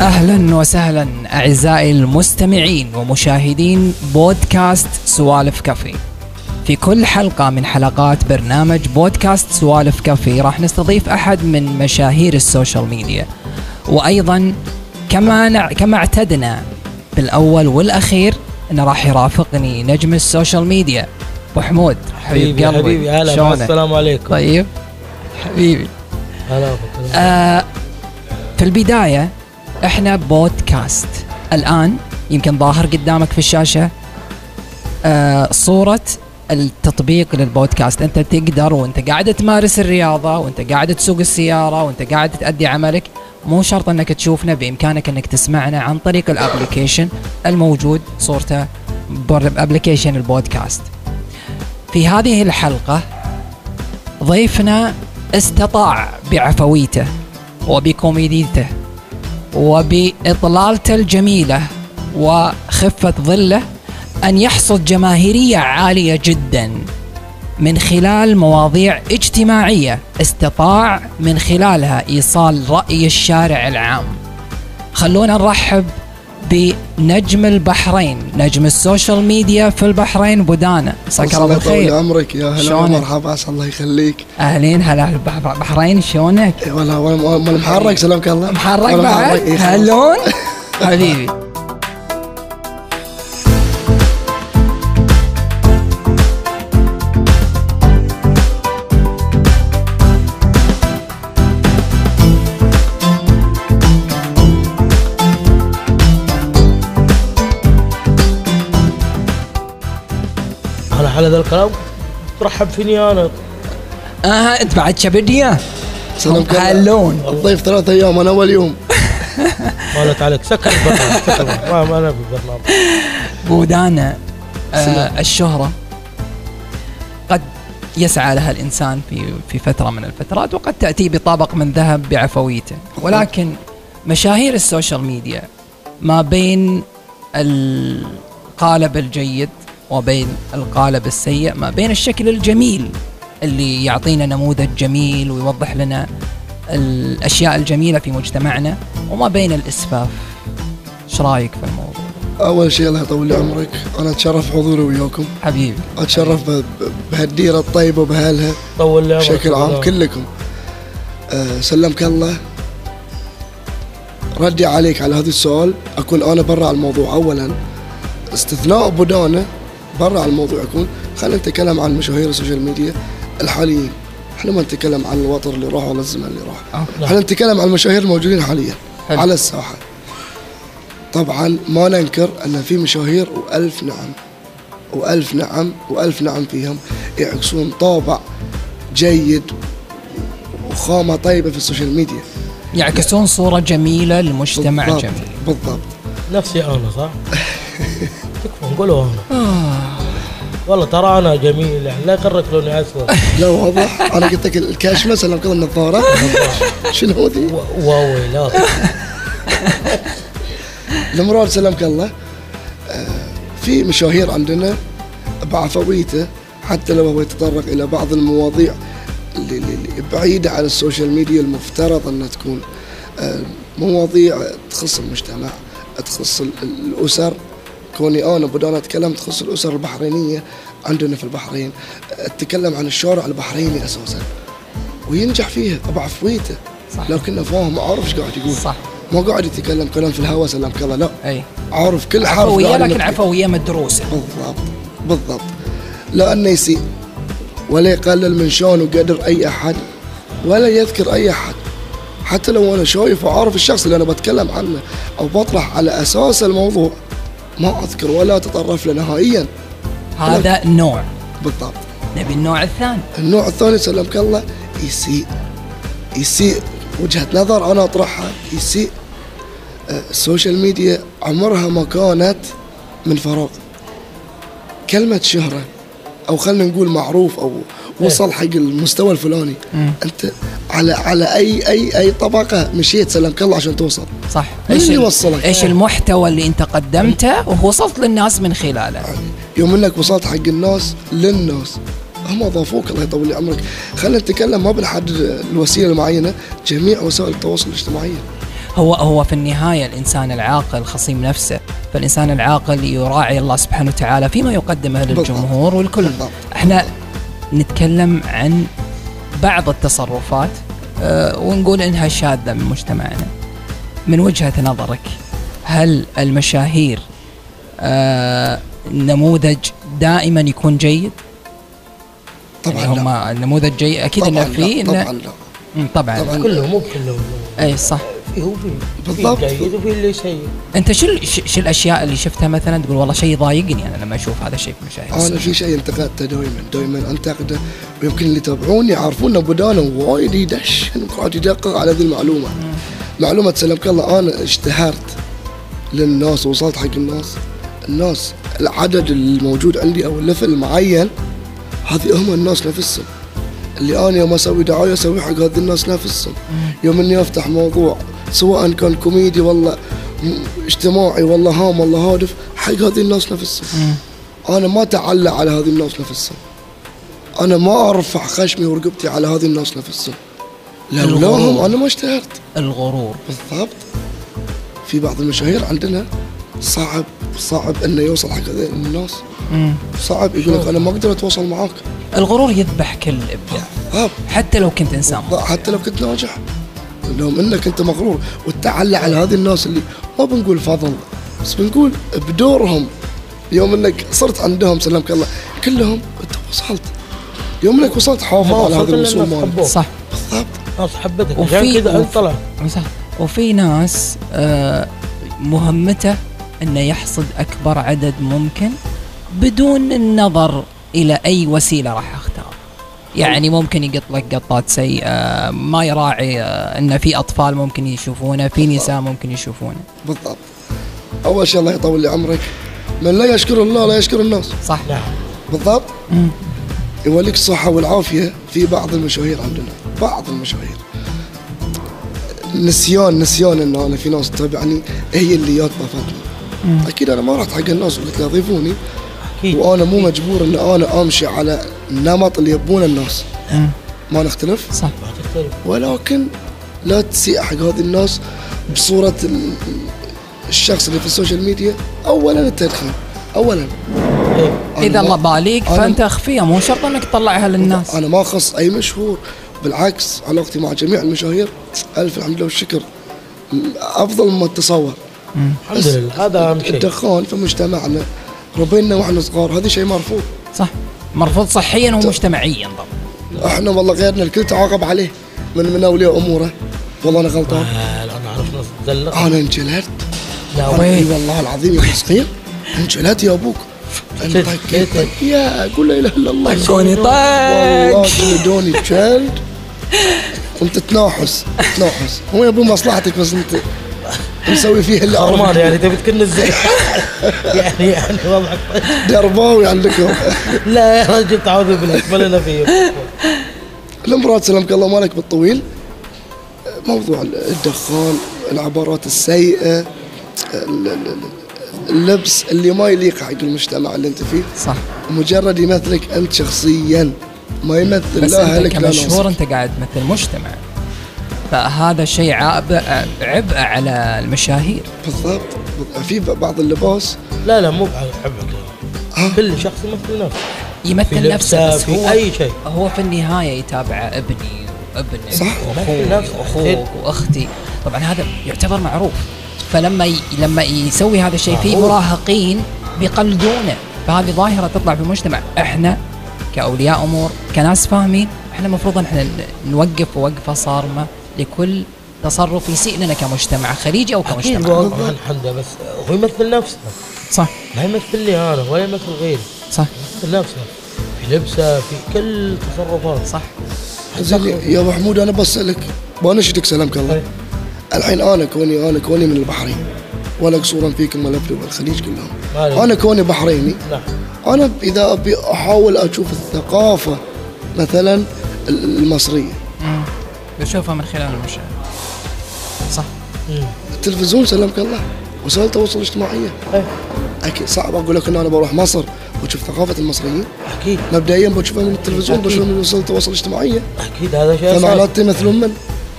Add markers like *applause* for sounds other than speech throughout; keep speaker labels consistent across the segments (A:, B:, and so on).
A: اهلا وسهلا اعزائي المستمعين ومشاهدين بودكاست سوالف كافي. في كل حلقة من حلقات برنامج بودكاست سوالف كافي راح نستضيف احد من مشاهير السوشيال ميديا. وايضا كما نع... كما اعتدنا بالاول والاخير انه راح يرافقني نجم السوشيال ميديا وحمود
B: حبيبي حبيبي هلا مع
A: شلونك؟
B: السلام عليكم
A: طيب حبيبي
B: هلا بك.
A: آه، في البداية احنا بودكاست الآن يمكن ظاهر قدامك في الشاشة آه، صورة التطبيق للبودكاست انت تقدر وانت قاعد تمارس الرياضة وانت قاعد تسوق السيارة وانت قاعد تأدي عملك مو شرط انك تشوفنا بامكانك انك تسمعنا عن طريق الابلكيشن الموجود صورته ابلكيشن البودكاست في هذه الحلقة ضيفنا استطاع بعفويته وبكوميديته وبإطلالته الجميلة وخفة ظله أن يحصد جماهيرية عالية جدا من خلال مواضيع اجتماعية استطاع من خلالها إيصال رأي الشارع العام خلونا نرحب بنجم البحرين نجم السوشيال ميديا في البحرين بودانا مساك الله
C: طول
A: بالخير
C: عمرك يا هلا
A: شلونك؟
C: ومرحبا عسى الله يخليك
A: اهلين هلا البح- بحرين شلونك
C: إي والله وأنا- وأنا محرك سلامك الله إيه.
A: محرك
C: وأنا
A: بعد
C: إي خلاص.
A: هلون حبيبي
B: انا على ذا الكلام ترحب فيني انا
A: اه انت بعد شبدية
C: سلامك الله.
A: هلون
C: الضيف ثلاثة ايام انا اول يوم
B: مالت عليك سكر البرنامج سكر البرنامج. ما ما انا في البرنامج
A: بودانا آه
C: سلام.
A: الشهرة قد يسعى لها الإنسان في في فترة من الفترات وقد تأتي بطبق من ذهب بعفويته ولكن مشاهير السوشيال ميديا ما بين القالب الجيد وبين القالب السيء ما بين الشكل الجميل اللي يعطينا نموذج جميل ويوضح لنا الأشياء الجميلة في مجتمعنا وما بين الإسفاف ايش رايك في الموضوع
C: اول شيء الله يطول عمرك انا اتشرف حضوري وياكم
A: حبيبي
C: اتشرف ب- ب- بهالديرة الطيبة وبهالها
B: طول لي عمرك
C: بشكل عام
B: والله.
C: كلكم أه سلمك الله ردي عليك على هذا السؤال اكون انا برا على الموضوع اولا استثناء بودانا برا على الموضوع اكون خلينا نتكلم عن مشاهير السوشيال ميديا الحاليين احنا ما نتكلم عن الوطن اللي راح ولا الزمن اللي راح
A: أوكي.
C: احنا نتكلم عن المشاهير الموجودين حاليا
A: حلو.
C: على الساحه طبعا ما ننكر ان في مشاهير والف نعم والف نعم والف نعم فيهم يعكسون طابع جيد وخامه طيبه في السوشيال ميديا
A: يعكسون صورة جميلة لمجتمع
C: بالضبط-
A: جميل
C: بالضبط
B: نفسي انا
C: *laughs*
B: صح تكفى نقولوا انا
C: آه.
B: والله ترى انا جميل يعني لا يغرك لوني اسود
C: لا واضح انا قلت لك الكاشمه سلام كذا النظاره *laughs* شنو ذي؟
B: و- وويلات
C: المراد سلمك الله آه، في مشاهير عندنا بعفويته حتى لو هو يتطرق الى بعض المواضيع اللي- اللي- اللي بعيده عن السوشيال ميديا المفترض انها تكون آه، مواضيع تخص المجتمع تخص ال- ال- الاسر كوني انا بدون اتكلم تخص الاسر البحرينيه عندنا في البحرين اتكلم عن الشارع البحريني اساسا وينجح فيها بعفويته
A: صح.
C: لكنه فاهم عارف ايش قاعد يقول
A: صح
C: ما قاعد يتكلم كلام في الهوى سلامك الله لا
A: اي
C: عارف كل حرف
A: عفوية
C: قاعد
A: لكن
C: ينطق.
A: عفوية مدروسة
C: بالضبط بالضبط لأنه يسيء ولا يقلل من شانه قدر أي أحد ولا يذكر أي أحد حتى لو أنا شايف وعارف الشخص اللي أنا بتكلم عنه أو بطرح على أساس الموضوع ما أذكر ولا أتطرف له نهائيا
A: هذا نوع
C: بالضبط
A: نبي النوع الثاني
C: النوع الثاني سلمك الله يسيء يسيء وجهة نظر أنا أطرحها يسيء آه، السوشيال ميديا عمرها ما كانت من فراغ كلمة شهرة أو خلينا نقول معروف أو وصل حق المستوى الفلاني أنت على على أي أي أي طبقة مشيت سلمك الله عشان توصل
A: صح
C: مين
A: ايش
C: اللي
A: ال-
C: وصلك؟ إيه.
A: ايش المحتوى اللي انت قدمته ووصلت للناس من خلاله
C: يوم انك وصلت حق الناس للناس هم اضافوك الله يطول لي عمرك خلينا نتكلم ما بنحدد الوسيله المعينه جميع وسائل التواصل الاجتماعي
A: هو هو في النهايه الانسان العاقل خصيم نفسه فالانسان العاقل يراعي الله سبحانه وتعالى فيما يقدمه
C: بالضبط.
A: للجمهور والكل
C: بالضبط.
A: احنا نتكلم عن بعض التصرفات آه، ونقول انها شاذه من مجتمعنا من وجهه نظرك هل المشاهير آه، نموذج دائما يكون جيد
C: طبعا
A: يعني هم
C: لا.
A: النموذج جيد اكيد
C: طبعا
A: انه في
C: لا.
A: إنه-
C: طبعا لا
A: مم، طبعا
C: طبعاً.
B: كلهم مو كلهم
A: اي صح
B: في هو في
C: بالضبط.
B: في جيد وفي اللي سيء
A: انت شو ال- شو شو الاشياء اللي شفتها مثلا تقول والله شيء ضايقني انا لما اشوف هذا الشيء في المشاهير
C: انا في شيء انتقدته دائما دائما انتقده ويمكن اللي يتابعوني يعرفون ان ابو دانا وايد يدشن وقاعد يدقق على ذي المعلومه معلومه سلمك الله انا اشتهرت للناس ووصلت حق الناس الناس العدد الموجود عندي او الليفل المعين هذه هم الناس نفسهم اللي انا يوم اسوي دعايه اسوي حق هذه الناس نفسهم يوم اني افتح موضوع سواء كان كوميدي والله م- اجتماعي والله هام والله هادف حق هذه الناس نفسهم انا ما اتعلق على هذه الناس نفسهم انا ما ارفع خشمي ورقبتي على هذه الناس نفسهم لولاهم
A: الغرور.
C: انا ما اشتهرت
A: الغرور
C: بالضبط في بعض المشاهير عندنا صعب صعب انه يوصل حق هذول الناس
A: مم.
C: صعب يقول لك انا ما اقدر اتواصل معاك آه.
A: الغرور يذبح كل ابداع
C: هاب
A: حتى لو كنت انسان
C: لا، حتى لو كنت ناجح لو انك انت مغرور وتتعلى على هذه الناس اللي ما بنقول فضل بس بنقول بدورهم يوم انك صرت عندهم سلمك الله كلهم انت وصلت يوم انك وصلت حافظ
B: ما
C: على
B: وصلت إلا
C: هذا الوصول
B: الناس
C: مالك
B: حبوك.
A: صح
C: بالضبط
B: ناس حبتك
A: وفي-
B: عشان كذا
A: وف-
B: انت طلع
A: صح وفي ناس آه، مهمته انه يحصد اكبر عدد ممكن بدون النظر الى اي وسيله راح اختار يعني ممكن يقط لك قطات سيئه ما يراعي آه، انه في اطفال ممكن يشوفونه في نساء ممكن يشوفونه
C: بالضبط اول شيء الله يطول لي عمرك من لا يشكر الله لا يشكر الناس
A: صح
B: نعم
C: بالضبط
A: مم.
C: يوليك الصحة والعافية في بعض المشاهير عندنا بعض المشاهير نسيان نسيان انه انا في ناس تتابعني يعني هي اللي جات ضافتني اكيد انا ما رحت حق الناس وقلت لا ضيفوني
A: إيه.
B: اكيد
C: وانا مو مجبور ان انا امشي على النمط اللي يبونه الناس
A: مم.
C: ما نختلف
A: صح
B: ما تختلف
C: ولكن لا تسيء حق هذه الناس بصورة ال- الشخص اللي في السوشيال ميديا اولا التدخين اولا
B: إيه.
C: أنا
A: اذا
C: ما-
A: الله باليك
C: أنا-
A: فانت اخفيه مو شرط انك تطلعها للناس
C: انا ما اخص اي مشهور بالعكس علاقتي مع جميع المشاهير الف الحمد لله والشكر افضل مما تتصور
B: الحمد لله هذا اهم شيء
C: الدخان في مجتمعنا ربينا واحنا صغار هذا شيء مرفوض
A: صح مرفوض صحيا ومجتمعيا طبعا
C: احنا والله غيرنا الكل تعاقب عليه من من اولياء اموره والله انا غلطان
B: آه، لا، انا اعرف ناس تدلع
C: انا انجلت
B: لا
C: انا
B: وين
C: اي والله العظيم يا صغير انجلت يا ابوك أنا طقيت يا اقول لا اله الا الله
A: كوني طق
C: والله كل دوني جلد انت تناحس تناحس هو يا ابو مصلحتك بس انت مسوي فيه اللي
B: عمر
C: أعرفه.
B: يعني تبي تكن ازاي *laughs* يعني يعني وضعك *laughs* طيب.
C: درباوي عندكم
B: لا يا رجل تعوذ بالله ما لنا فيه
C: الامراض سلمك الله مالك بالطويل موضوع الدخان العبارات السيئه ال- ال- اللبس اللي ما يليق حق المجتمع اللي انت فيه
A: صح
C: مجرد يمثلك انت شخصيا ما يمثل
A: بس
C: لا
A: انت
C: اهلك لا
A: كمشهور
C: ناسك
A: انت قاعد تمثل مجتمع فهذا شيء عائب عبء على المشاهير
C: بالضبط في بعض اللباس
B: لا لا مو بحبك كل شخص يمثل نفسه في
A: يمثل نفسه
B: لبسه
A: بس هو
B: في اي شيء
A: هو في النهايه يتابع ابني وابنك
C: صح.
A: واخوي
B: نفسه.
A: واخوك واختي طبعا هذا يعتبر معروف فلما ي... لما يسوي هذا الشيء في
B: معروف.
A: مراهقين بيقلدونه فهذه ظاهره تطلع في المجتمع احنا كاولياء امور كناس فاهمين احنا المفروض ان احنا ن- نوقف وقفه صارمه لكل تصرف يسيء لنا كمجتمع خليجي او
B: اكيد
A: كمجتمع
B: والله الحمد بس هو يمثل نفسه
A: صح
B: ما يمثل لي انا ولا يمثل غيري
A: صح
B: يمثل نفسه في لبسه في كل تصرفاته
A: صح
C: زين يا ابو حمود انا بسالك بنشدك سلامك الله
B: طيب.
C: الحين انا كوني انا كوني من البحرين ولا قصورا فيكم ولا في الخليج
B: ما
C: كلهم
B: عليك.
C: انا كوني بحريني
B: نعم
C: انا اذا ابي احاول اشوف الثقافه مثلا المصريه
A: نشوفها من خلال المشاهد صح
B: مم.
C: التلفزيون سلمك الله وسائل التواصل الاجتماعيه
B: طيب.
C: اكيد صعب اقول لك ان انا بروح مصر واشوف ثقافه المصريين
B: اكيد
C: مبدئيا بشوفها من التلفزيون
B: أكيد.
C: بشوفها من وسائل التوصل الاجتماعيه
B: اكيد هذا شيء
C: فمعناته
B: اساسي
C: يمثلون من؟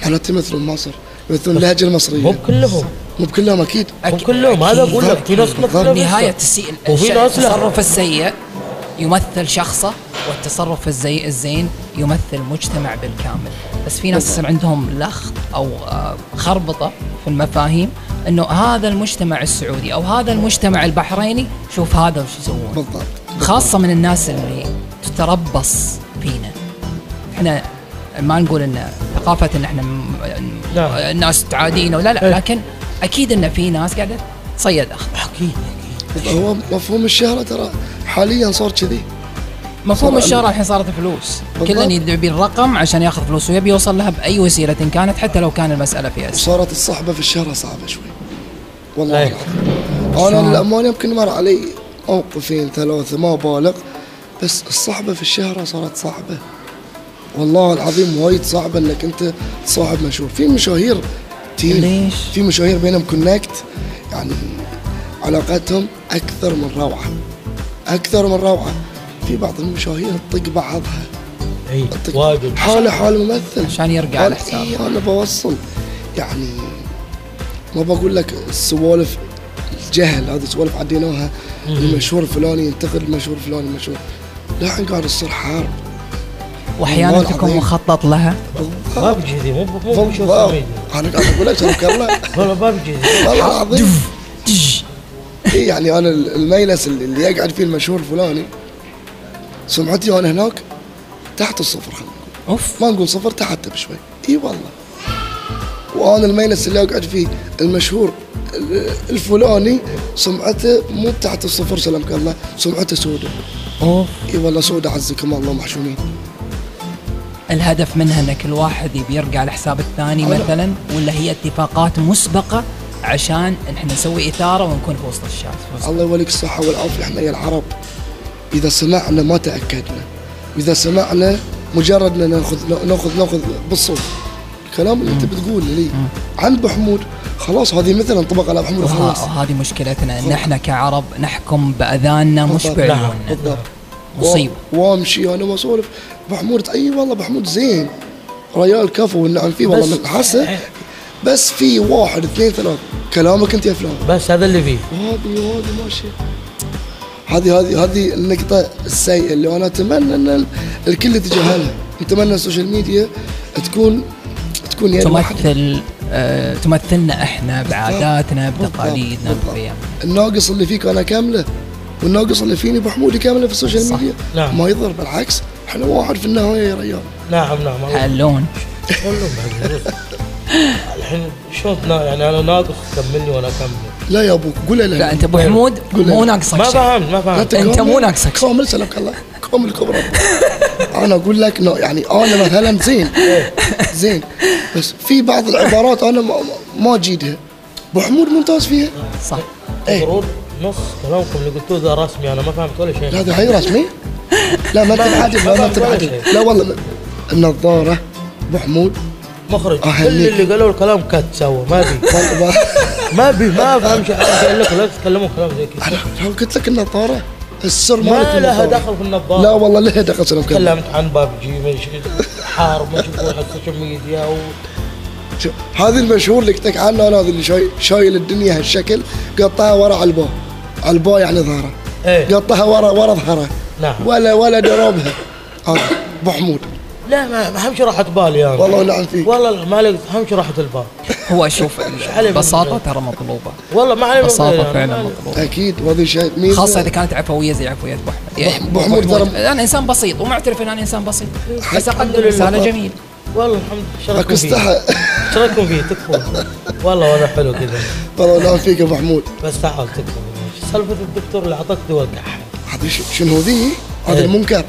C: معناته يمثلون مصر يمثلون اللهجه المصريه
B: مو كلهم
C: مو بكلهم اكيد
B: مو
A: أكيد-
B: كلهم هذا
A: أكيد.
B: اقول لك في ناس
C: بالضبط.
B: مثلا
A: نهاية السيء
B: وفي
A: الش-
B: ناس لا.
A: التصرف السيء يمثل شخصه والتصرف الزي الزين يمثل مجتمع بالكامل بس في ناس يصير عندهم لخط او آه، خربطه في المفاهيم انه هذا المجتمع السعودي او هذا المجتمع البحريني شوف هذا وش يسوون
C: بالضبط
A: خاصه من الناس اللي تتربص فينا احنا ما نقول ان ثقافه ان احنا م-
B: لا.
A: الناس تعادينا ولا لا
B: إيه.
A: لكن اكيد ان في ناس قاعده تصيد اخ
B: اكيد
C: هو مفهوم الشهره ترى حاليا صار كذي
A: مفهوم
C: صار-
A: الشهرة الحين صارت فلوس
C: بالضبط.
A: كلن يبي الرقم عشان ياخذ فلوس ويبي يوصل لها باي وسيله إن كانت حتى لو كان المساله فيها اسم
C: صارت الصحبه في الشهره صعبه شوي والله
B: أي.
C: العظيم.
A: شلون؟
C: انا للامانه يمكن مر علي موقفين ثلاثه ما بالغ بس الصحبه في الشهره صارت صعبه والله العظيم وايد صعبه انك انت تصاحب مشهور في مشاهير تيم
A: ليش؟
C: في مشاهير بينهم كونكت يعني علاقاتهم اكثر من روعه اكثر من روعه في بعض المشاهير تطق بعضها
B: اي
C: تطق
B: واجد
C: حاله حال ممثل
A: عشان يرجع
C: قال
A: على حسابه.
C: إيه انا بوصل يعني ما بقول لك السوالف الجهل هذه سوالف عديناها المشهور فلاني ينتقد المشهور فلاني المشهور لا الحين قاعد تصير حرب
A: واحيانا
C: والله
A: تكون
C: العظيم.
A: مخطط لها
B: ما بيجي ذي مو مو مو شو
C: بالضبط.
B: والله
C: انا قاعد اقول لك ترى كلا.
B: ما بيجي ذي
C: والله العظيم
A: تج.
C: إيه يعني انا المجلس اللي اللي يقعد فيه المشهور فلاني سمعتي وانا هناك تحت الصفر خلينا نقول.
A: اوف
C: ما نقول صفر تحت بشوي اي والله وانا المجلس اللي اقعد فيه المشهور ال- الفلاني سمعته مو تحت الصفر سلمك الله سمعته سودة
A: اوف
C: اي والله سودة عزكم الله محشومين
A: الهدف منها ان كل واحد يبي يرجع على حساب الثاني
C: أنا-
A: مثلا ولا هي اتفاقات مسبقه عشان احنا نسوي اثاره ونكون في وسط الشاشه
C: الله يوليك الصحة والعافية احنا يا العرب اذا سمعنا ما تأكدنا واذا سمعنا مجرد ان ناخذ ناخذ ناخذ بالصوت الكلام اللي انت بتقوله لي عن بحمود خلاص هذه مثلا انطبق على بحمود خلاص
A: وه- وهذه مشكلتنا ان احنا كعرب نحكم نعم. باذاننا مش
C: بالضبط. نعم.
A: بعيوننا
C: بالضبط
A: مصيبة.
C: و- وامشي انا واسولف بحمود اي والله بحمود زين ريال كفو والنعم فيه والله
B: بس-
C: من
A: إيه.
C: حسه بس في واحد اثنين ثلاث كلامك انت يا فلان
B: بس هذا اللي فيه
C: وهذه وهذه ماشي هذه هذه هذه النقطة السيئة اللي أنا أتمنى أن ال- الكل يتجاهلها، أتمنى السوشيال ميديا تكون تكون يعني واحد
A: تمثل آه، تمثلنا احنا بعاداتنا
C: بالضبط،
A: بتقاليدنا
C: بالضبط.
A: بقيمنا
C: الناقص اللي فيك أنا كاملة والناقص اللي فيني بحمودي كاملة في السوشيال
A: صح.
C: ميديا
B: نعم.
C: ما يضر بالعكس احنا واحد في النهاية يا ريال
B: نعم نعم *laughs* الله
A: اللون
B: والله ما أدري. الحين شلون تنا- يعني انا ناقص كملني وانا اكمل
C: لا يا ابوك قول له
A: لا انت ابو حمود
C: قول
A: مو
C: لي.
A: ناقصك
B: ما
A: شيء
B: فهمت ما فهمت
A: أنت مو ناقصك شيء.
C: كامل سلامك الله كامل كبر ربك. انا اقول لك نو يعني انا مثلا زين زين بس في بعض العبارات انا ما, ما اجيدها ابو حمود ممتاز فيها
A: صح
C: إيه.
B: المفروض نص كلامكم اللي قلتوه ذا رسمي انا ما فهمت ولا شيء
C: لا هذا هاي رسمي لا ما تنعدل لا ما تنعدل لا والله ما- النظاره ابو حمود
B: مخرج كل
C: أهنيك.
B: اللي قالوا الكلام كات سوا ما بي
C: ما- ما-
B: ما بي ما فهم شيء انا قايل لكم لا تتكلمون كلام زي
C: *laughs*
B: كذا
C: انا لو قلت لك النظاره السر مالت
B: ما لها
C: النظارة.
B: دخل في
C: لا
B: النظاره
C: والله لها دخل سلامك الله
B: تكلمت عن بابجي مش حارب مش على السوشيال ميديا و...
C: شوف، هذه المشهور اللي قلت لك عنه انا هذا اللي شايل شايل الدنيا هالشكل قطها ورا علبه علبه يعني ظهره
B: ايه
C: قطها ورا ورا ظهره
B: نعم
C: ولا ولا دروبها هذا ابو حمود
B: لا ما ما همشي راحت بالي انا
C: والله نعم فيك
B: والله ما لقيت همشي راحت البال
A: هو شوف
B: علي من
A: البساطه
B: البلد.
A: ترى مطلوبه
B: والله ما علي
A: بساطه فعلا مطلوبه
C: اكيد وهذه شيء ميزه
A: خاصة إذا كانت عفوية زي عفوية أبو أحمد يعني
C: أبو حمود ترى-
A: أنا إنسان بسيط ومعترف إن أنا إنسان بسيط بس
B: الحمد
A: أقدم
B: لله.
A: رسالة جميلة
B: والله الحمد لله شارككم
C: اكو
B: فيه
C: استحى
B: شارككم فيه تكفون والله وانا حلو كذا
C: والله نعم فيك يا ابو حمود
B: بس تعال تكفون سالفه الدكتور اللي اعطاك دواء كحل
C: هذه ش- شنو ذي؟ هذا
B: إيه.
C: المنكر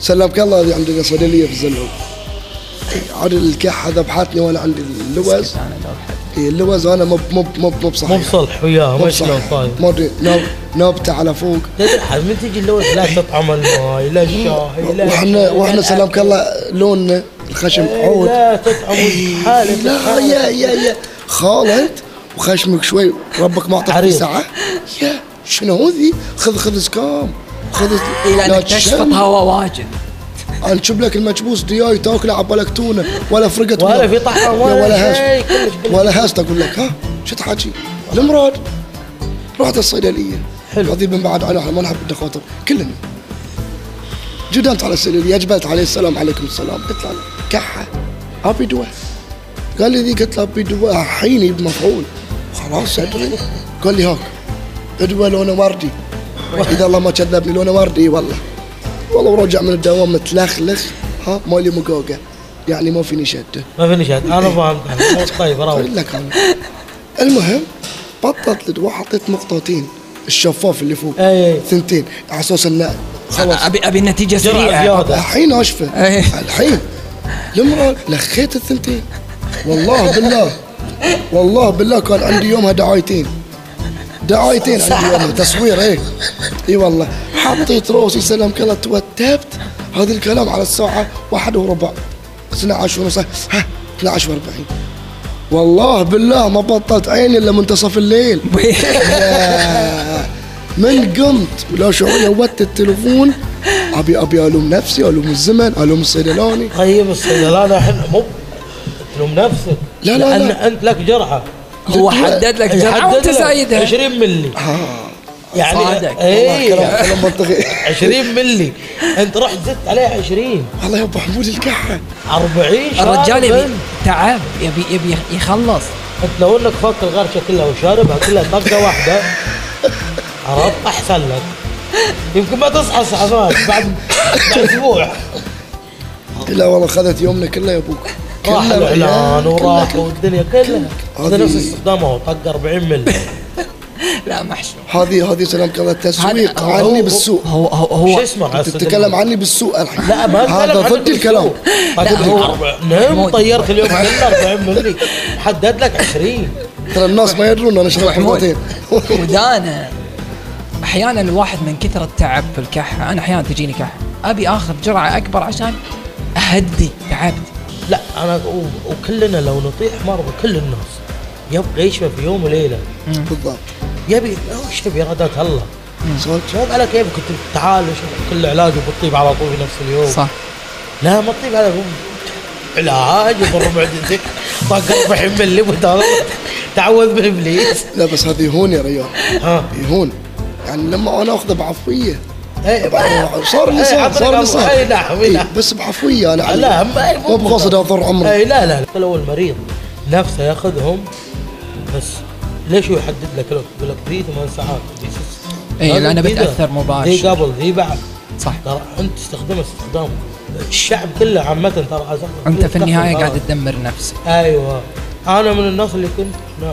C: سلمك الله هذه عندنا صيدليه في الزلوم إيه، عاد الكح هذا بحاتني وانا عندي اللوز
A: أنا لو حد-
C: إيه، اللوز انا مب مب مب مب
B: مو
C: صحيح
B: بصلح وياها ما شلون
C: صحيح.
B: طايف
C: ما ادري نوب- نوبته على فوق
B: تدري حد من تجي اللوز لا تطعم الماي لا الشاي لا
C: واحنا واحنا سلامك الله لوننا الخشم عود
B: لا تطعم حالك
C: إيه. لا يا يا يا خالد وخشمك شوي ربك ما اعطاك
B: عريض.
C: ساعه يا شنو ذي خذ خذ سكام خذ
A: إلى أن اكتشفت هوا واجد
C: انشب لك المكبوس دياي تاكله عبالك تونه ولا فرقت
B: ولا في طعم ولا,
C: ولا
B: شيء
C: هاش
B: كلش كلش
C: ولا هاش تقول لك ها شو تحكي المراد رحت الصيدليه
B: حلو.
C: هذه من بعد على احنا ما نحب الدخاطر كلنا جدمت على الصيدليه جبلت عليه السلام عليكم السلام قلت له كحه ابي دواء قال لي ذي قلت له ابي دواء حيني بمفعول خلاص ادري قال لي هاك ادوى لونه وردي اذا الله ما كذبني لونه وردي إي والله والله ورجع من الدوام متلخلخ ها مالي مقوقه يعني ما فيني شده
B: ما في نشاط انا فهمت أنا. طيب راوي
C: اقول لك أنا. المهم بطلت الدواء حطيت مقطوطين الشفاف اللي فوق
B: أي.
C: ثنتين على اساس انه خلاص
A: ابي ابي النتيجه
B: جرعه
A: سريعه
B: زياده
C: الحين اشفى
A: أي.
C: الحين المرأة لخيت الثنتين والله بالله والله بالله كان عندي يومها دعايتين دعايتين عندي يومها تصوير ايه اي والله حطيت روسي سلام كلا توتبت هذا الكلام على الساعة واحد وربع 12 ونص ها 12 واربعين والله بالله ما بطلت عيني الا منتصف الليل من قمت ولا شعوري ودت التليفون ابي ابي الوم نفسي الوم الزمن الوم الصيدلاني
B: طيب الصيدلانه الحين مو تلوم نفسك
C: لا، لا،
B: لأن
C: لا.
B: انت لك جرعه
A: هو حدد لك جرعه
B: يحدد
A: وانت
B: إيه، لك
A: زايدها
B: 20 ملي
A: صادق.
B: يعني
C: والله
B: اي
C: كلام كلام منطقي
B: 20 ملي انت رحت زدت عليها 20
C: والله يا ابو حمود الكحه
B: 40 شارب
A: الرجال يبي
B: أنت.
A: تعب يبي يبي يخلص
B: انت لو انك فاك الغرشه كلها وشاربها كلها طقه واحده عرفت احسن لك يمكن ما تصحى صحفان بعد بعد اسبوع
C: لا والله خذت يومنا كله يا ابوك
B: راح
C: كله
B: الاعلان
C: عيال،
B: وراح
C: كله-
B: والدنيا كلها هذا
C: هذه-
B: نفس استخدامه طق 40 ملي
A: لا محشوم
C: هذه هذه سلام كلام تسويق
A: هذا-
C: عني
B: هو-
C: بالسوء
A: هو هو
B: شو
A: هو
B: اسمه
C: انت تتكلم عني بالسوء الحين
B: لا ما
C: هذا ضد الكلام
A: لا، هو-
B: نعم
A: محمود.
B: طيرت اليوم كله 40 ملي حدد لك 20
C: ترى الناس ما يدرون انا شربت
A: محمود.
C: مرتين
A: ودانا احيانا الواحد من كثره التعب في الكحه انا احيانا تجيني كحه ابي اخذ جرعه اكبر عشان اهدي تعبت
B: لا انا و- وكلنا لو نطيح مرضى كل الناس يبقى يشفى في يوم وليله
C: بالضبط
B: يبي ايش تبي ارادات الله
C: سؤال
B: مو عليك يبي كنت تعالج كل علاج وبتطيب على طول في نفس اليوم
A: صح
B: لا ما تطيب على طول. علاج بربع دزك طاقة 40 ملي وتعوذ- تعوذ من ابليس
C: لا بس هذه هون يا ريال
B: ها
C: يهون يعني لما انا اخذه بعفويه
B: إيه،
C: صار لي
B: إيه،
C: صار
B: عطني
C: صار لي
B: قبل.
C: صار
B: إيه، نعم، إيه،
C: إيه،
B: نعم.
C: بس بعفويه انا
B: لا إيه.
C: علمت.
B: ما
C: مو بقصد اضر عمري
B: اي لا لا لا. لو المريض نفسه ياخذهم بس ليش هو يحدد لك الوقت؟ يقول لك ذي ثمان ساعات ذي ست
A: إي،
B: هذا
A: إيه، لأنه
B: ذي ده.
A: بتأثر مباشر.
B: ذي قبل ذي بعد
A: صح
B: ترى انت تستخدمه استخدام الشعب كله عامة ترى أصلاً
A: انت في النهايه
B: يستخدم
A: قاعد
B: هذا.
A: تدمر نفسك
B: ايوه انا من الناس اللي كنت لا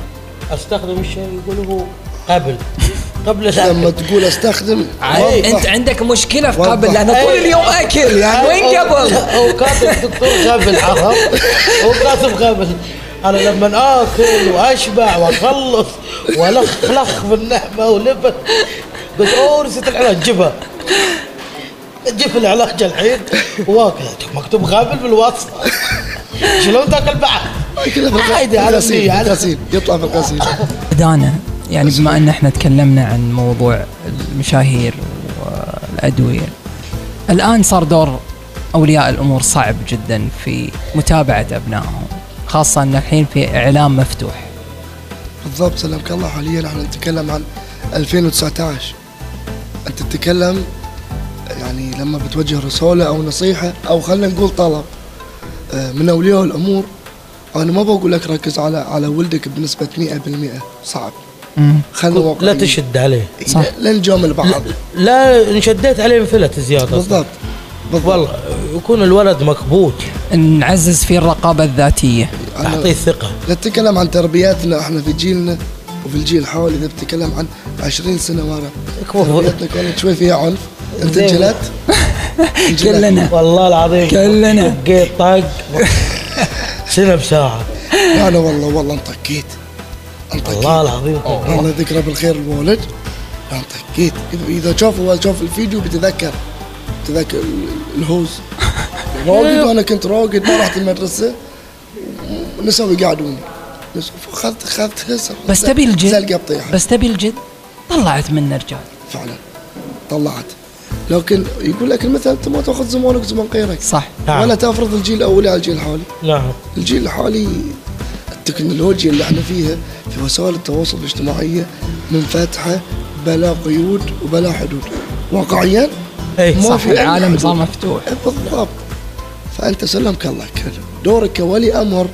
B: استخدم الشيء يقولوا قبل
A: *laughs*
B: قبل
C: لما
B: الأكل.
C: تقول استخدم
B: عيب.
C: وضح.
A: انت عندك مشكله في
C: والله.
A: قبل لانه طول
B: أي.
A: اليوم اكل يعني وين
B: أو-
A: قبل؟
B: او كاتب دكتور قبل عرفت هو كاتب قبل انا لما اكل واشبع واخلص والخلخ في النعمه ولبن قلت اوه نسيت العلاج جبها جيب العلاج الحين واكل مكتوب قبل بالوصف شلون تاكل بعد؟
C: كذا في الغ-
B: عادي، على
C: الغسيل،
B: النية، على-
C: الغسيل. يطلع في الغسيل
A: دانا يعني بما ان احنا تكلمنا عن موضوع المشاهير والادويه الان صار دور اولياء الامور صعب جدا في متابعه ابنائهم خاصه ان الحين في اعلام مفتوح
C: بالضبط سلمك الله حاليا احنا نتكلم عن 2019 انت تتكلم يعني لما بتوجه رساله او نصيحه او خلينا نقول طلب آه، من اولياء الامور انا ما بقول لك ركز على على ولدك بنسبه 100% صعب خلينا
B: لا
C: واقعيين.
B: تشد عليه
A: صح.
C: لا نجامل بعض
B: لا ان شديت عليه انفلت زياده
C: بالضبط بالضبط
B: والله يكون الولد مكبوت
A: نعزز فيه الرقابه الذاتيه
C: أنا-
B: اعطيه الثقه
C: نتكلم عن تربياتنا احنا في جيلنا وفي الجيل حولي اذا بتكلم عن 20 سنه ورا
B: يكفو
C: تربيتنا كانت شوي فيها عنف انت
B: زين.
C: انجلت؟ انجلت.
A: كلنا
B: والله العظيم
A: كلنا.
B: طقيت طق سنه بساعه
C: انا والله والله انطقيت انطقيت
B: والله العظيم طقيت
C: الله يذكره بالخير الوالد انطقيت إذا- اذا شافوا شاف الفيديو بتذكر تذكر ال- الهوز راقد وانا كنت راقد ما رحت المدرسه نسوي قاعدوني نسوي اخذت اخذت هسه
A: بس تبي الجد
C: زلقه بطيحه
A: بس تبي الجد طلعت منه رجال
C: فعلا طلعت لكن يقول لك المثل انت ما تاخذ زمانك زمان غيرك
A: صح
B: نعم.
C: ولا تفرض الجيل الاولي على الجيل الحالي
B: نعم
C: الجيل الحالي التكنولوجيا اللي احنا فيها في وسائل التواصل الاجتماعي منفتحه بلا قيود وبلا حدود واقعيا
B: اي
C: ما
A: صح
C: في أي
A: العالم
C: حدود.
A: صار مفتوح
C: بالضبط فانت سلمك الله كله دورك كولي امر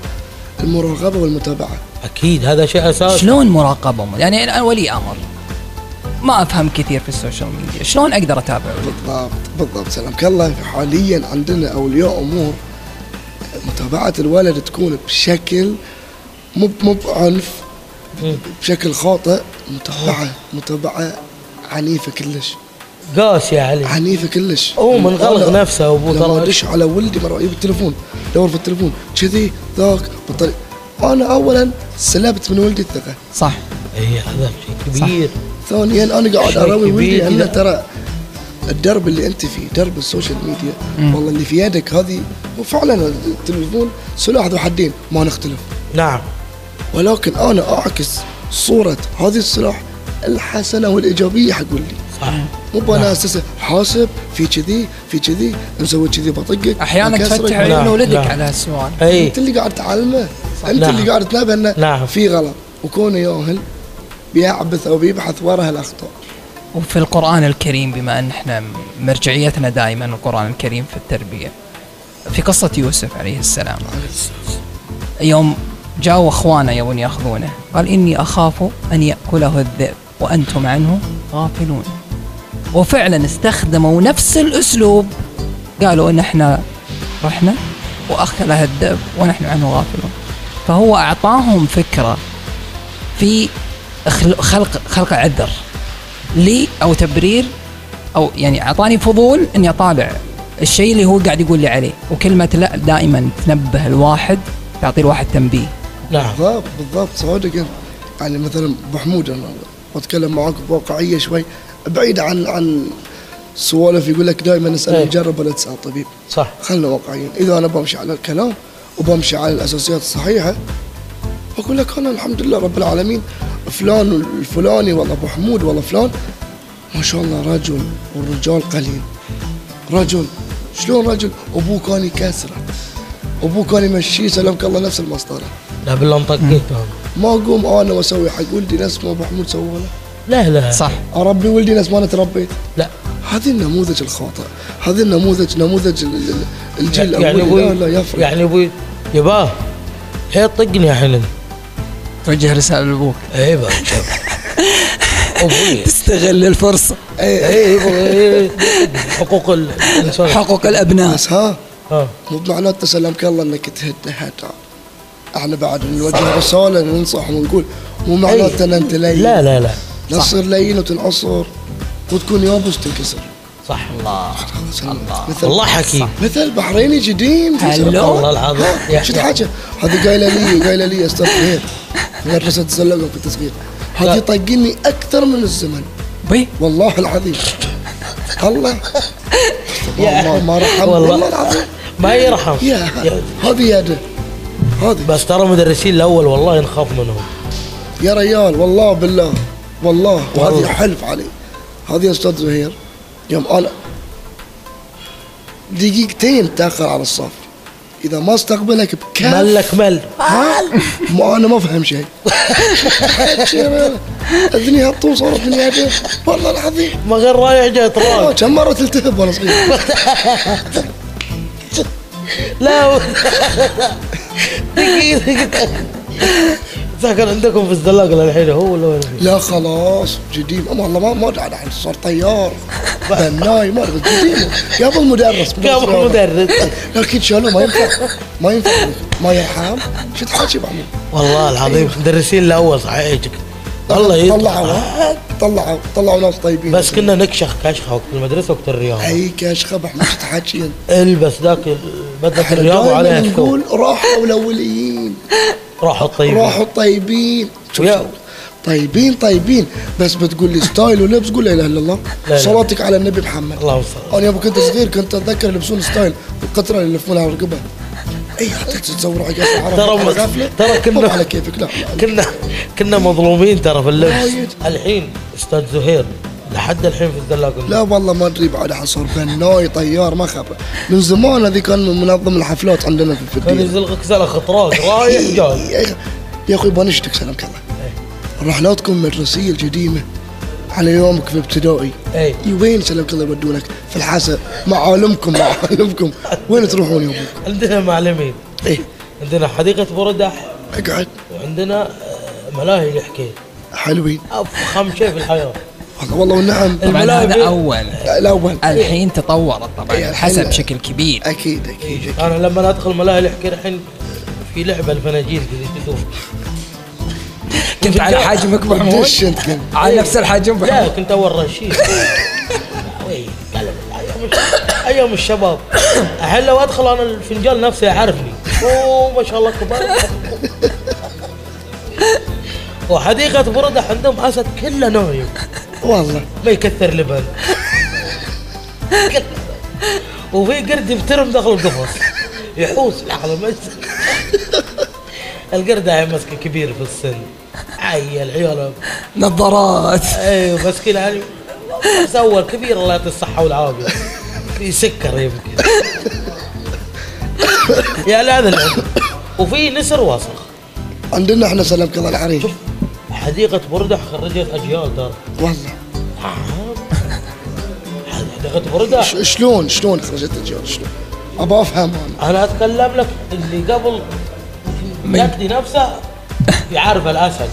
C: المراقبه والمتابعه
B: اكيد هذا شيء اساسي
A: شلون مراقبه أمور؟ يعني انا ولي امر ما افهم كثير في السوشيال ميديا شلون اقدر اتابع ولي؟
C: بالضبط بالضبط سلامك الله حاليا عندنا اولياء امور متابعه الولد تكون بشكل مو مو بعنف
B: مم.
C: بشكل خاطئ متابعه متابعه عنيفه كلش
B: قاس يا علي
C: عنيفه كلش
B: هو منغلق
C: أنا
B: نفسه ابوه
C: لما
B: ترى
C: ادش على ولدي مره يجيب التليفون دور في التلفون كذي ذاك بالطريق انا اولا سلبت من ولدي الثقه
A: صح
B: اي إيه، هذا شيء كبير
C: ثانيا انا يعني قاعد
B: شيء
C: اراوي
B: كبير
C: ولدي انه
B: إذا-
C: ترى الدرب اللي انت فيه درب السوشيال ميديا
A: مم.
C: والله اللي في يدك هذه وفعلا التليفون سلاح ذو حدين ما نختلف
B: نعم
C: ولكن انا اعكس صوره هذه السلاح الحسنه والايجابيه حق ولدي
B: صح
C: مو
B: نعم.
C: بانا اساسه حاسب في كذي في كذي مسوي كذي بطقك
A: احيانا
C: بكسرك.
A: تفتح
B: لا،
A: عيون ولدك
B: لا.
A: على هالسؤال
B: اي
C: انت اللي قاعد تعلمه انت
B: نعم.
C: اللي قاعد تنبه انه
B: نعم.
C: في غلط وكونه ياهل بيعبث او بيبحث وراء الاخطاء
A: وفي القرآن الكريم بما أن احنا مرجعيتنا دائما القرآن الكريم في التربية في قصة يوسف عليه السلام يوم جاءوا أخوانه يبون يأخذونه قال إني أخاف أن يأكله الذئب وأنتم عنه غافلون وفعلا استخدموا نفس الأسلوب قالوا إن احنا رحنا وأكله الذئب ونحن عنه غافلون فهو أعطاهم فكرة في خل- خلق خلق عذر لي او تبرير او يعني اعطاني فضول اني اطالع الشيء اللي هو قاعد يقول لي عليه وكلمه لا دائما تنبه الواحد تعطي الواحد تنبيه
B: نعم
C: بالضبط بالضبط صادقا يعني مثلا ابو حمود انا بتكلم معاك بواقعيه شوي بعيد عن عن سوالف يقول لك دائما اسال
B: إيه.
C: المجرب ولا تسال الطبيب
B: صح
C: خلنا واقعيين اذا انا بمشي على الكلام وبمشي على الاساسيات الصحيحه اقول لك انا الحمد لله رب العالمين فلان الفلاني والله ابو حمود والله فلان ما شاء الله رجل والرجال قليل رجل شلون رجل ابوه كان يكسره ابوه كان يمشيه سلمك الله نفس المسطره
B: لا بالله انطقيت أنا.
C: ما اقوم انا واسوي حق ولدي نفس ما ابو حمود سوى له
B: لا لا
A: صح
C: اربي ولدي نفس ما انا تربيت
B: لا
C: هذا النموذج الخاطئ هذا النموذج نموذج ال- ال- الجيل
B: يعني
C: الاولي لا
B: ابوي
C: لا يفرق
B: يعني ابوي يباه لا تطقني الحين إيه،
A: توجه رساله لابوك
B: اي بابا ابوي
A: تستغل الفرصه
C: اي اي
B: اي أبوي. إيه، حقوق الانسان
A: حقوق الابناء
C: بس ها
B: آه.
C: مو بمعناته سلمك الله انك تهد هدى احنا بعد نوجه رساله ننصح ونقول مو معناته ان انت لين
B: إيه. لا لا لا
C: لا تصير لين وتنعصر وتكون يابس تنكسر
B: صح الله
C: الله
B: الله حكيم
C: مثل بحريني قديم
A: هلو.
B: والله العظيم يا
C: شو الحاجه؟ هذه قايله لي قايله لي يا استاذ خير في مدرسه الزلاقه كنت صغير
B: لا.
C: هذه طقني اكثر من الزمن
A: بي
C: والله العظيم الله
B: يا
C: والله ما رحم
B: والله.
C: والله العظيم
B: ما يرحم
C: يا
B: يا-
C: هذه يده هذه
B: بس ترى المدرسين الاول والله نخاف منهم
C: يا ريال والله بالله والله وهذه
B: والله.
C: حلف علي هذه يا استاذ زهير يوم انا دقيقتين تاخر على الصف اذا ما استقبلك بكاف
B: ملك مل
C: ها؟ ما انا ما فهم شيء *laughs* اذني هالطول صارت من يده والله العظيم
B: ما غير رايح جاي
C: آه،
B: تراك
C: كم مره تلتهب وانا صغير
B: لا دقيقة دقيقة. ساكن عندكم في الزلاق للحين هو ولا وين فيه؟
C: لا خلاص قديم أم والله ما ما أدري عن صار طيار بناي ما ادري قديم قبل مدرس
B: قام المدرس
C: لكن شالوه ما ينفع ما ينفع ما يرحم شو تحكي بعمر
B: والله العظيم المدرسين الاول صحيحك والله
C: طلعوا
B: يطلع
C: طلعوا طلعوا ناس طيبين
B: بس كنا نكشخ كشخه وقت المدرسه وقت الرياضه
C: اي كاشخه بعمر شو تحكي أنت؟
B: البس ذاك ال- بدله
C: احنا
B: الرياضه
C: دائما
B: عليها ثوب
C: نقول راحوا الاوليين
B: راحوا الطيبين
C: راحوا طيبين شوف
B: ويا-
C: شوف. طيبين طيبين بس بتقول لي ستايل ولبس قول لا اله الا الله
B: لا.
C: صلاتك على النبي محمد
B: اللهم صل
C: انا يوم كنت صغير كنت اتذكر يلبسون ستايل القطره اللي يلفونها على رقبها اي حتى تتصور عقاس العرب
B: ترى
C: على
B: ما-
C: قافلة.
B: ترى كنا-
C: طب على كيفك لا لا
B: كنا كنا مظلومين ترى في اللبس
C: وايد.
B: الحين استاذ زهير لحد الحين في الزلاق
C: لا والله ما ادري بعد حصر بنوي طيار ما خبر من زمان هذه كان من منظم الحفلات عندنا في
B: كان
C: الفدية
B: يزلقك زلقه طراق رايح جاي
C: يا أخي- يا اخوي بنشتك سلامك الله
B: إيه.
C: رحلاتكم المدرسيه القديمه على يومك في ابتدائي
B: اي
C: وين سلامك الله يودونك في الحسا معالمكم معالمكم وين تروحون يومكم؟
B: عندنا معلمين
C: ايه
B: عندنا حديقه بردح
C: اقعد
B: وعندنا آه، ملاهي الحكي
C: حلوين
B: افخم شيء في الحياه
C: والله والله نعم. والنعم
A: طبعا
B: الملاهي-
A: هذا اول
C: الاول
A: الحين تطورت طبعا
C: إيه،
A: الحسا
C: الحين-
A: بشكل كبير
C: اكيد اكيد
B: انا لما ادخل ملاهي الحكي الحين في لعبه الفناجيل كذي تدور
A: كنت على حجمك محمود
C: دش انت كم
A: على نفس الحجم
B: لا
A: محمود
B: إيه. كنت اول
A: *laughs*
B: رشيد إيه، وي، قلب. ايام الش- ايام الشباب الحين لو ادخل انا الفنجان نفسه يعرفني اوه ما شاء الله كبار وحديقة بردح عندهم اسد كله نايم
C: والله
B: ما يكثر لبن وفي قرد يفترم داخل القفص يحوس على المجد القرد عيل مسكه كبير في السن عيل عياله
A: نظارات
B: ايوه مسكين يعني سوى كبير الله يعطيه الصحه والعافيه يسكر يمكن يا لا هذا العمر. وفي نسر واسخ
C: عندنا احنا سلامك الله العريش
B: شوف حديقه بردح خرجت اجيال ترى
C: والله
B: حديقه بردح
C: ش- شلون شلون خرجت الجول شلون؟ ابى افهم انا
B: انا اتكلم لك اللي قبل جدي نفسه يعرف الاسد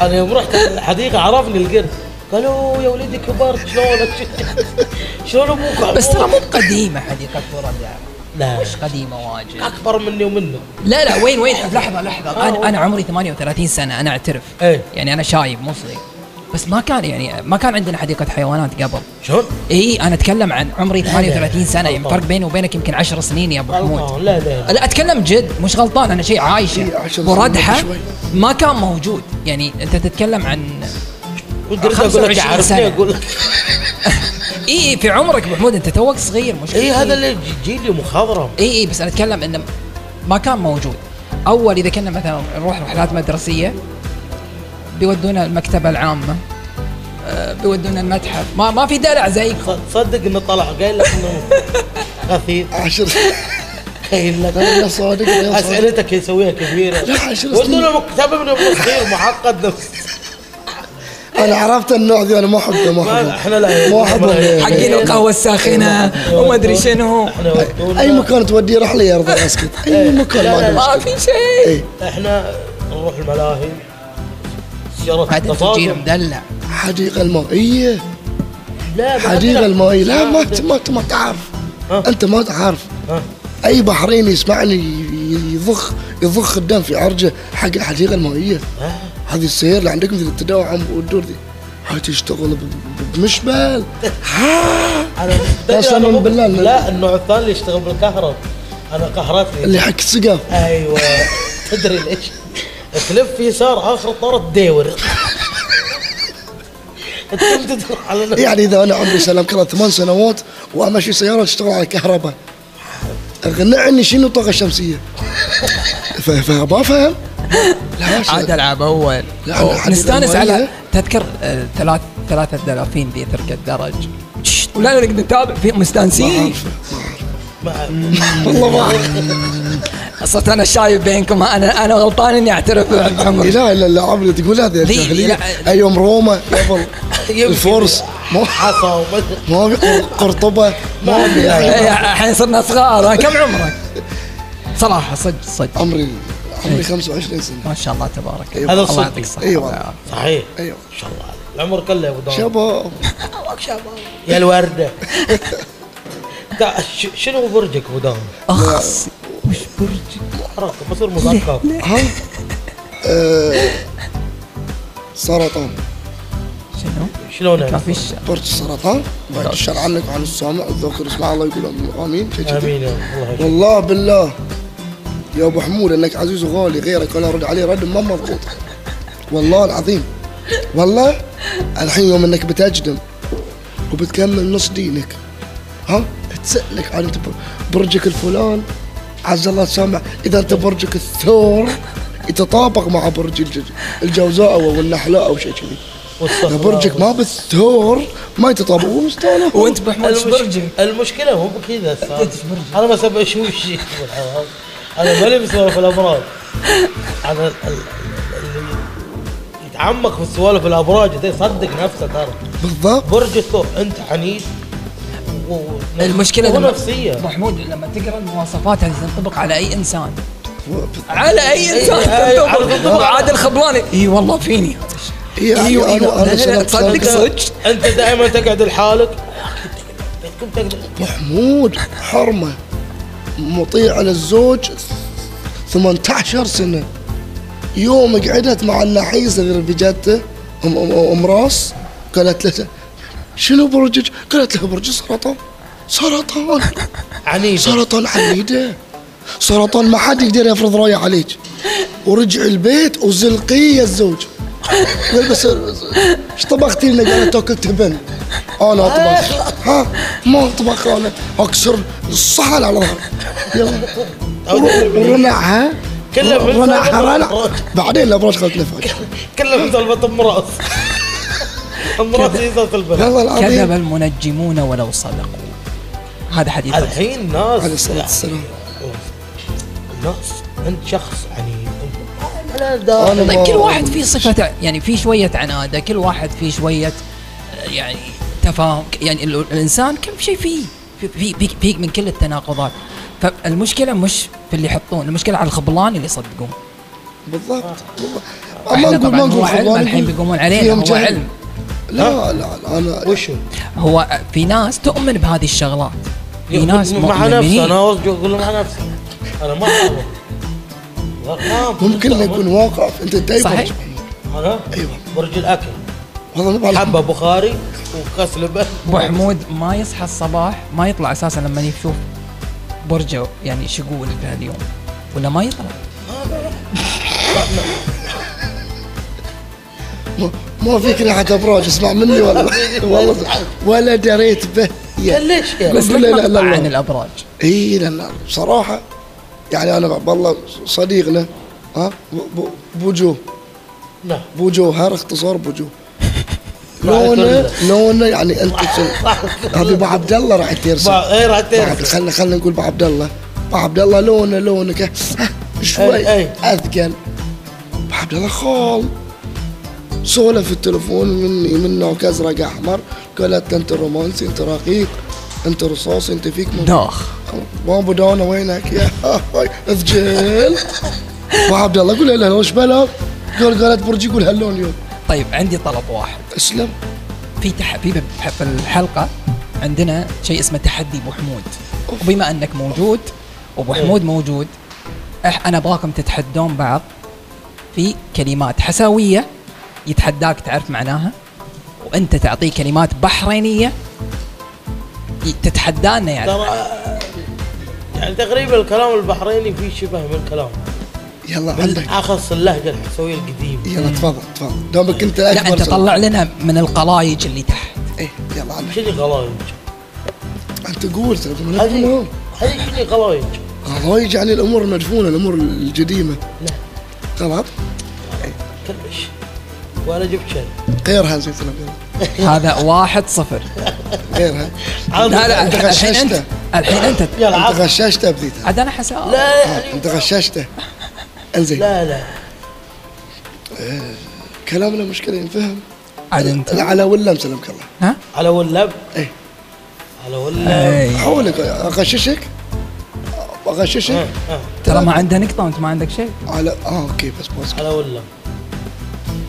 B: انا يوم رحت الحديقه عرفني القرد قالوا يا ولدي كبرت شلونك شلون ابوك
A: بس ترى مو قديمه حديقه بورندا
B: لا
A: مش قديمه واجد
B: اكبر مني ومنه
A: لا لا وين وين لحظه لحظه انا انا عمري 38 سنه انا اعترف
B: إيه.
A: يعني انا شايب مو صغير بس ما كان يعني ما كان عندنا حديقه حيوانات قبل
B: شلون؟
A: اي انا اتكلم عن عمري 38 سنه يعني
B: غلطان.
A: فرق بيني وبينك يمكن 10 سنين يا ابو
B: الله
A: حمود
B: لا لا
A: لا اتكلم جد مش غلطان انا شيء
C: إي،
A: عايشه
C: 10 سنين
A: وردحه
C: شوي.
A: ما كان موجود يعني انت تتكلم عن
B: كنت اريد اقول لك
A: 25
B: عرفني
A: سنة.
B: اقول لك
A: اي إي، في عمرك أبو حمود انت توك صغير مش
B: اي
A: كبير.
B: إيه هذا اللي ج- جيلي مخضرم
A: اي اي إيه، بس انا اتكلم انه ما كان موجود اول اذا كنا مثلا نروح رحلات مدرسيه بيودونا المكتبه العامه آه، بيودونا المتحف ما ما في دلع زيك
B: ص- تصدق انه طلع قايل لك انه غثيث
C: عشر
B: قايل لك
C: يا صادق يا صادق
B: اسئلتك يسويها كبيره
C: لا، عشر
B: قلت
C: سنين.
B: له مكتبه من ابن صغير معقد نفس
C: انا عرفت النوع ذي انا ما احبه ما
B: ما-
C: احبه
B: إحنا لا-
C: ما احبه
B: إحنا-
A: حقين
C: إيه.
A: القهوه الساخنه وما ادري شنو
B: احنا ودونا-
C: اي إيه. مكان توديه رحله يرضى اسكت اي مكان
B: إيه. لا، لا،
C: ما
A: ما
C: أدري. إيه.
A: في شيء
C: اي
B: احنا نروح الملاهي سيارة
A: بعدين تجينا
B: التصادم
A: مدلع
C: حديقه المائيه
B: لا ما
C: حديقه
B: عندنا-
C: المائيه لا ما
B: عندنا-
C: ت- ما ت- ما تعرف
B: ها؟
C: انت ما تعرف
B: ها؟
C: اي بحريني يسمعني ي- ي- يضخ يضخ الدم في عرجه حق الحديقه المائيه
B: ها؟
C: هذه السيارة اللي عندكم ذي التداعم والدور ذي هاي تشتغل ب- ب- بمشبل
B: انا
C: قسماً
B: أنا مو-
C: بالله إنه-
B: لا النوع الثاني اللي يشتغل بالكهرب انا قهرتني
C: اللي حق السقاف
B: ايوه تدري ليش؟ تلف يسار اخر طار تداور انت كم تدور على نفسك
C: يعني اذا انا عمري سلام كره ثمان سنوات وامشي سيارة تشتغل على كهرباء اقنعني شنو الطاقة الشمسية ف- فما فاهم لا
A: عاد
C: شيء.
A: العب اول
C: لا، أنا حديد
A: نستانس على
C: المائية.
A: تذكر آه، ثلاث ثلاثة دلافين ذي ترك الدرج شش، ولا نقدر نتابع في مستانسين
B: ما-
C: والله ما أعرف.
A: صرت انا شايب بينكم انا انا غلطان اني اعترف بعمري
C: لا لا لا عمري تقول هذا يا
A: ليه؟
C: جاهلية
A: لا.
C: اي يوم روما قبل
B: يمكن
C: الفرس ما
B: حصى وما-
C: ما في قر- قرطبة ما في يعني.
A: إيه، الحين صرنا صغار أنا كم عمرك؟ صراحة صدق صدق
C: عمري عمري 25 سنه
A: ما شاء الله تبارك
C: أيوة.
A: الله
B: هذا الصدق.
A: يعطيك الصحة
C: أيوة.
A: الله يعافيك.
B: صحيح
C: ايوه
B: ما شاء الله عليك العمر كله يا ابو داود
C: شباب
B: يا الورده تع- ش- شنو برجك ابو داود؟
A: أخس
B: وش برجك؟ حرك بصير مثقف
C: ها آه، سرطان
A: شنو؟
B: شلون
A: ما
B: يعني؟
A: في شر
C: بورت السرطان بعد الشر عنك وعن السامع الذكر اسمع الله يقول آمين- امين شيء كذي.
B: امين يا الله يحفظك.
C: والله بالله يا ابو حمود انك عزيز وغالي غيرك ولا رد عليه رد ما مضبوط والله العظيم والله الحين يوم انك بتجدم وبتكمل نص دينك ها تسألك عن انت برجك الفلان عز الله سامع اذا انت برجك الثور يتطابق مع برج الج- الجوزاء او النحلاء او شيء كذي
B: واستغفر
C: برجك ما بالثور ما يتطابق ومستوى
A: وانت بحمد
B: المش-
A: برجك
B: المشكله مو بكذا أستاذ.
A: إيش برجك؟
B: انا بس ابي اشوف شيء بالحرام. انا ماني بسولف الابراج انا ال- ال- اللي يتعمق في السوالف الابراج ده صدق نفسه ترى
C: بالضبط
B: برج الثور انت عنيد و- و-
A: المشكله
B: مو
A: لما-
B: نفسيه
A: محمود لما تقرا المواصفات هذه تنطبق على إيه، اي انسان
C: بالضبط.
A: على اي
B: إي-
A: انسان
B: إي،
A: تنطبق
B: على طول.
A: عادل خبلاني اي والله فيني
C: إيه،
A: ايوه
C: أنا-
A: ايوه
C: أنا
A: لا، لا، لا،
C: سلمت-
A: تصدق
C: سلمت.
A: صدق
B: انت دائما تقعد لحالك تكون تقعد-
C: محمود حرمه مطيع للزوج 18 سنه يوم قعدت مع النحيسه غير بجدته ام ام ام راس قالت له شنو برجك؟ قالت له برج سرطان سرطان
B: عنيد
C: سرطان عنيده سرطان ما حد يقدر يفرض رايه عليك ورجع البيت وزلقيه الزوج قال بس بس- ايش طبختي لنا؟ قالت اكلت هبن انا اطبخ ها ما اطبخ انا اكسر الصحن على ظهري يلا رنعها
B: كله من
C: رنعها
B: سالفة
C: رنع
B: الأبراج.
C: بعدين الابراج خلت نفعك
B: كله مسلبة امراض امراض يزات البلد
C: والله
A: كذب
C: العظيم
A: المنجمون ولو صدقوا هذا حديث
B: الحين ناس
C: عليه الصلاه والسلام
B: ناس انت شخص عنيد أنت- انا
C: أنا
B: داخل
C: ما-
A: طيب كل واحد فيه صفة ع- يعني في شوية عنادة كل واحد فيه شوية آه، يعني تفاهم ك- يعني ال- الإنسان كم شيء فيه في في في- في من كل التناقضات فالمشكلة مش في اللي يحطون المشكلة على الخبلان اللي يصدقون
C: بالضبط بالضبط.
A: إحنا
C: ما نقول
A: طبعاً
C: ما
A: هو
C: نقول
A: علم
C: خضار،
A: الحين
C: نقول
A: بيقومون علينا،
C: فيهم
A: هو
C: جهل.
A: علم.
C: لا لا لا انا
B: وشو؟
A: هو آه، في ناس تؤمن بهذه الشغلات في ناس
B: مع نفسه
A: مؤمنين
B: انا اصدق اقول له مع نفسه انا ما أعرف. لا، ما-
C: ممكن يكون واقع انت دايما
A: صحيح.
B: انا
A: أيوة.
C: ايوه
B: برج الاكل
C: والله نبغى
B: حبه بخاري وكاس لبن
A: ابو حمود ما يصحى الصباح ما يطلع اساسا لما يشوف برجه يعني شقول في هاليوم ولا ما يطلع
C: ما- ما فيك ريحه ابراج اسمع مني والله والله ولا دريت به
B: قال
C: يعني
B: ليش يعني؟
A: بس
C: لا، لا، لا،
A: لا
C: لا.
A: عن الابراج
C: اي لا لا بصراحه يعني انا والله صديقنا ها ب- ب- بوجو
B: نعم
C: بوجو هذا اختصار بوجو
B: راح
C: لونه
B: يطرده.
C: لونه يعني انت هذه ابو عبد الله راح ترسم
B: با- ايه راح
C: ما عاد-
B: تعرف
C: طيب، خلنا خلنا نقول بعبد الله بعبد الله لونه لونه كه- شوي
B: أي- أي.
C: اثقل بعبد الله خال سولف في التلفون مني من نوع ازرق احمر قالت له انت رومانسي انت رقيق انت رصاصي انت فيك من
A: داخ
C: بابا دانا وينك يا هاي اثجل وعبد الله قول له وش بلا قال قالت برجي قول هاللون اليوم
A: طيب عندي طلب واحد
C: اسلم
A: في تح... في بح- في الحلقه عندنا شيء اسمه تحدي ابو حمود وبما انك موجود وابو
B: إيه.
A: حمود موجود أح... انا ابغاكم تتحدون بعض في كلمات حساويه يتحداك تعرف معناها وانت تعطيه كلمات بحرينيه ي- تتحدانا يعني
B: ترى يعني تقريبا الكلام البحريني فيه شبه من كلام
C: يلا عندك
B: اخص اللهجه الحسويه القديمه
C: يلا تفضل تفضل دومك انت اكبر
A: لا انت
C: سنة.
A: طلع لنا من القلايج اللي تحت
C: ايه يلا عندك
B: شنو غلايج؟
C: انت قول ترى من
B: هذه
C: الأمور.
B: هذه شنو غلايج؟
C: غلايج يعني الامور المدفونه الامور القديمه
B: لا
A: نعم.
C: غلط
B: كلش وانا جبت شيء
C: غيرها زيت الابيض
A: هذا واحد
B: *laughs*
A: صفر
C: غيرها
A: لا لا الحين الحين
C: غششته.
A: انت الحين انت
B: يا
C: انت
B: العظم
C: غششته بذيتها
A: عاد انا حساوي
B: لا
C: آه،
B: يعني
C: انت غششته انزين
B: لا لا
C: كلامنا مشكله ينفهم
A: عاد انت
C: لا على ولا مسلمك الله
A: ها
B: على واللب
C: إيه.
B: على
A: إيه.
B: واللب
C: احولك اغششك اغششك
A: نعم.
B: إيه، إيه،
A: ترى ما عنده نقطة وانت ما عندك شيء
C: على اه اوكي بس بس
A: نعم.
B: على واللب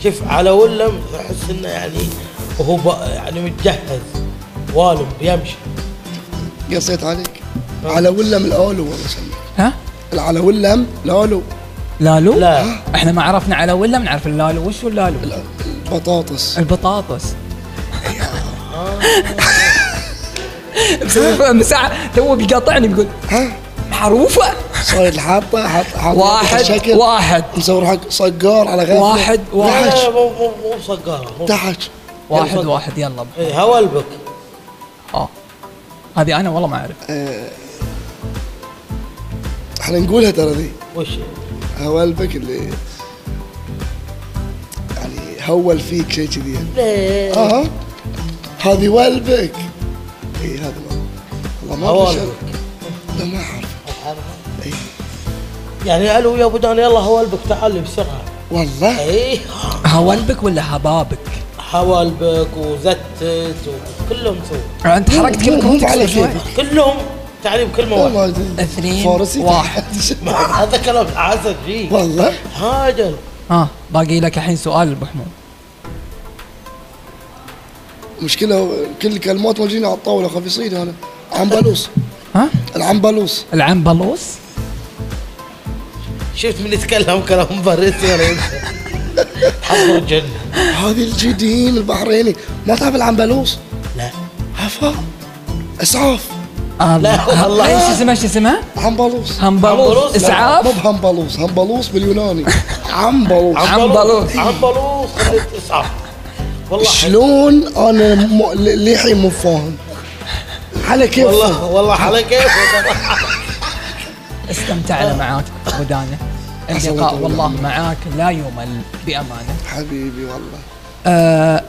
B: شوف على واللب احس انه يعني وهو ب- يعني متجهز والم بيمشي
C: قصيت عليك
A: نعم.
C: على ولم الاولو والله سلمك
A: ها
C: على ولم الاولو
A: لالو
B: لا
A: احنا ما عرفنا على ولا بنعرف اللالو وش هو اللالو
C: ال- البطاطس
A: *laughs* البطاطس مسوي فم ساعة تو بيقاطعني بيقول
C: ها
A: معروفة
C: صاير الحاطه حاط حاط
A: واحد
C: شكل
A: واحد
C: نصور حق صقار على غير
A: واحد
B: لا،
A: واحد
B: لا مو مو مو صقاره مو-
C: تحت
A: واحد واحد يلا
B: إيه، هوالبك
A: اه هذه انا والله ما اعرف
C: احنا نقولها ترى ذي
B: وش
C: هوالبك اللي يعني تتهول فيك شيء كذي يعني. اها هذه والبك اي هذا ما والله ما أدري شو-
B: هوالبك.
C: لا ما اعرف إي.
B: يعني الو يا ابو دان يلا هوالبك تعال لي إيه. بسرعه
C: والله
B: اي
A: هوالبك ولا هبابك؟
B: حوالبك وزتت وكلهم سووا
A: انت آه، حركت
C: مو-
A: كلمة
C: مو
A: كويتك
C: على
A: شوي.
C: كيفك.
B: كلهم تعريب كلمه واحده
C: والله أدري.
A: اثنين،
C: فارسي
A: واحد.
B: ما *laughs* هذا كلام حاسد فيه
C: *laughs* والله
B: هاجل
A: ها آه. باقي لك الحين سؤال ابو حمود
C: مشكلة كل الكلمات موجودين على الطاولة خفيصين أنا عنبلوس
A: ها؟
C: العنبلوس
A: العم بلوس؟
B: شفت من يتكلم كلام بريت يا ريت حضر الجنه
C: هذه الجديد البحريني ما تعرف العنبلوس
B: لا
C: عفا اسعاف
A: الله
B: والله.
A: الله ايش آه، اسمه ايش اسمه؟ همبلوس
C: عنبلوس
B: همبلوس؟ لا.
C: مو
A: اسعاف
C: بهمبلوس همبلوس باليوناني عنبلوس
A: عنبلوس.
B: عنبلوس خليت اسعف والله
C: شلون انا م... للحين مو فاهم على كيف
B: والله والله على كيفك
A: استمتعنا معاك ابو دانا اللقاء
C: الله.
A: والله معاك لا يمل بامانه
C: حبيبي والله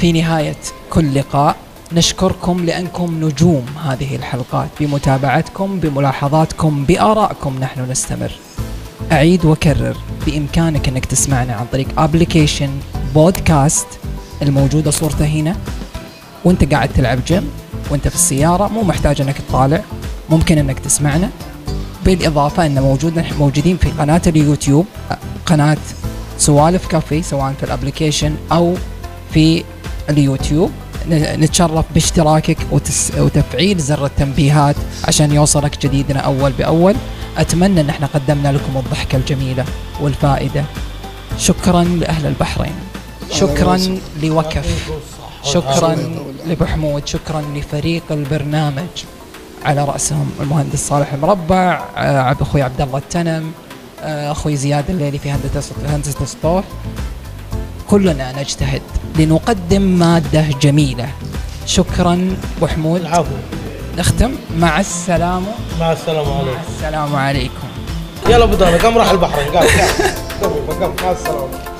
A: في نهاية كل لقاء نشكركم لأنكم نجوم هذه الحلقات بمتابعتكم بملاحظاتكم بآرائكم نحن نستمر أعيد وأكرر بإمكانك أنك تسمعنا عن طريق أبليكيشن بودكاست الموجودة صورته هنا وانت قاعد تلعب جيم وانت في السيارة مو محتاج انك تطالع ممكن انك تسمعنا بالإضافة أن موجود موجودين في قناة اليوتيوب قناة سوالف كافي سواء في الابليكيشن أو في اليوتيوب ن- نتشرف باشتراكك وتس وتفعيل زر التنبيهات عشان يوصلك جديدنا أول بأول أتمنى أن احنا قدمنا لكم الضحكة الجميلة والفائدة شكرا لأهل البحرين شكرا لوكف شكرا لابو حمود شكرا لفريق البرنامج على راسهم المهندس صالح المربع آه، عب- اخوي عبد الله التنم آه، اخوي زياد الليلي في هندسه هندسه السطوح كلنا نجتهد لنقدم ماده جميله شكرا ابو حمود
B: العفو
A: نختم مع السلامه
B: مع السلامه عليكم
A: السلام عليكم
B: يلا ابو دار قام راح البحرين قام قام قام قام مع السلامه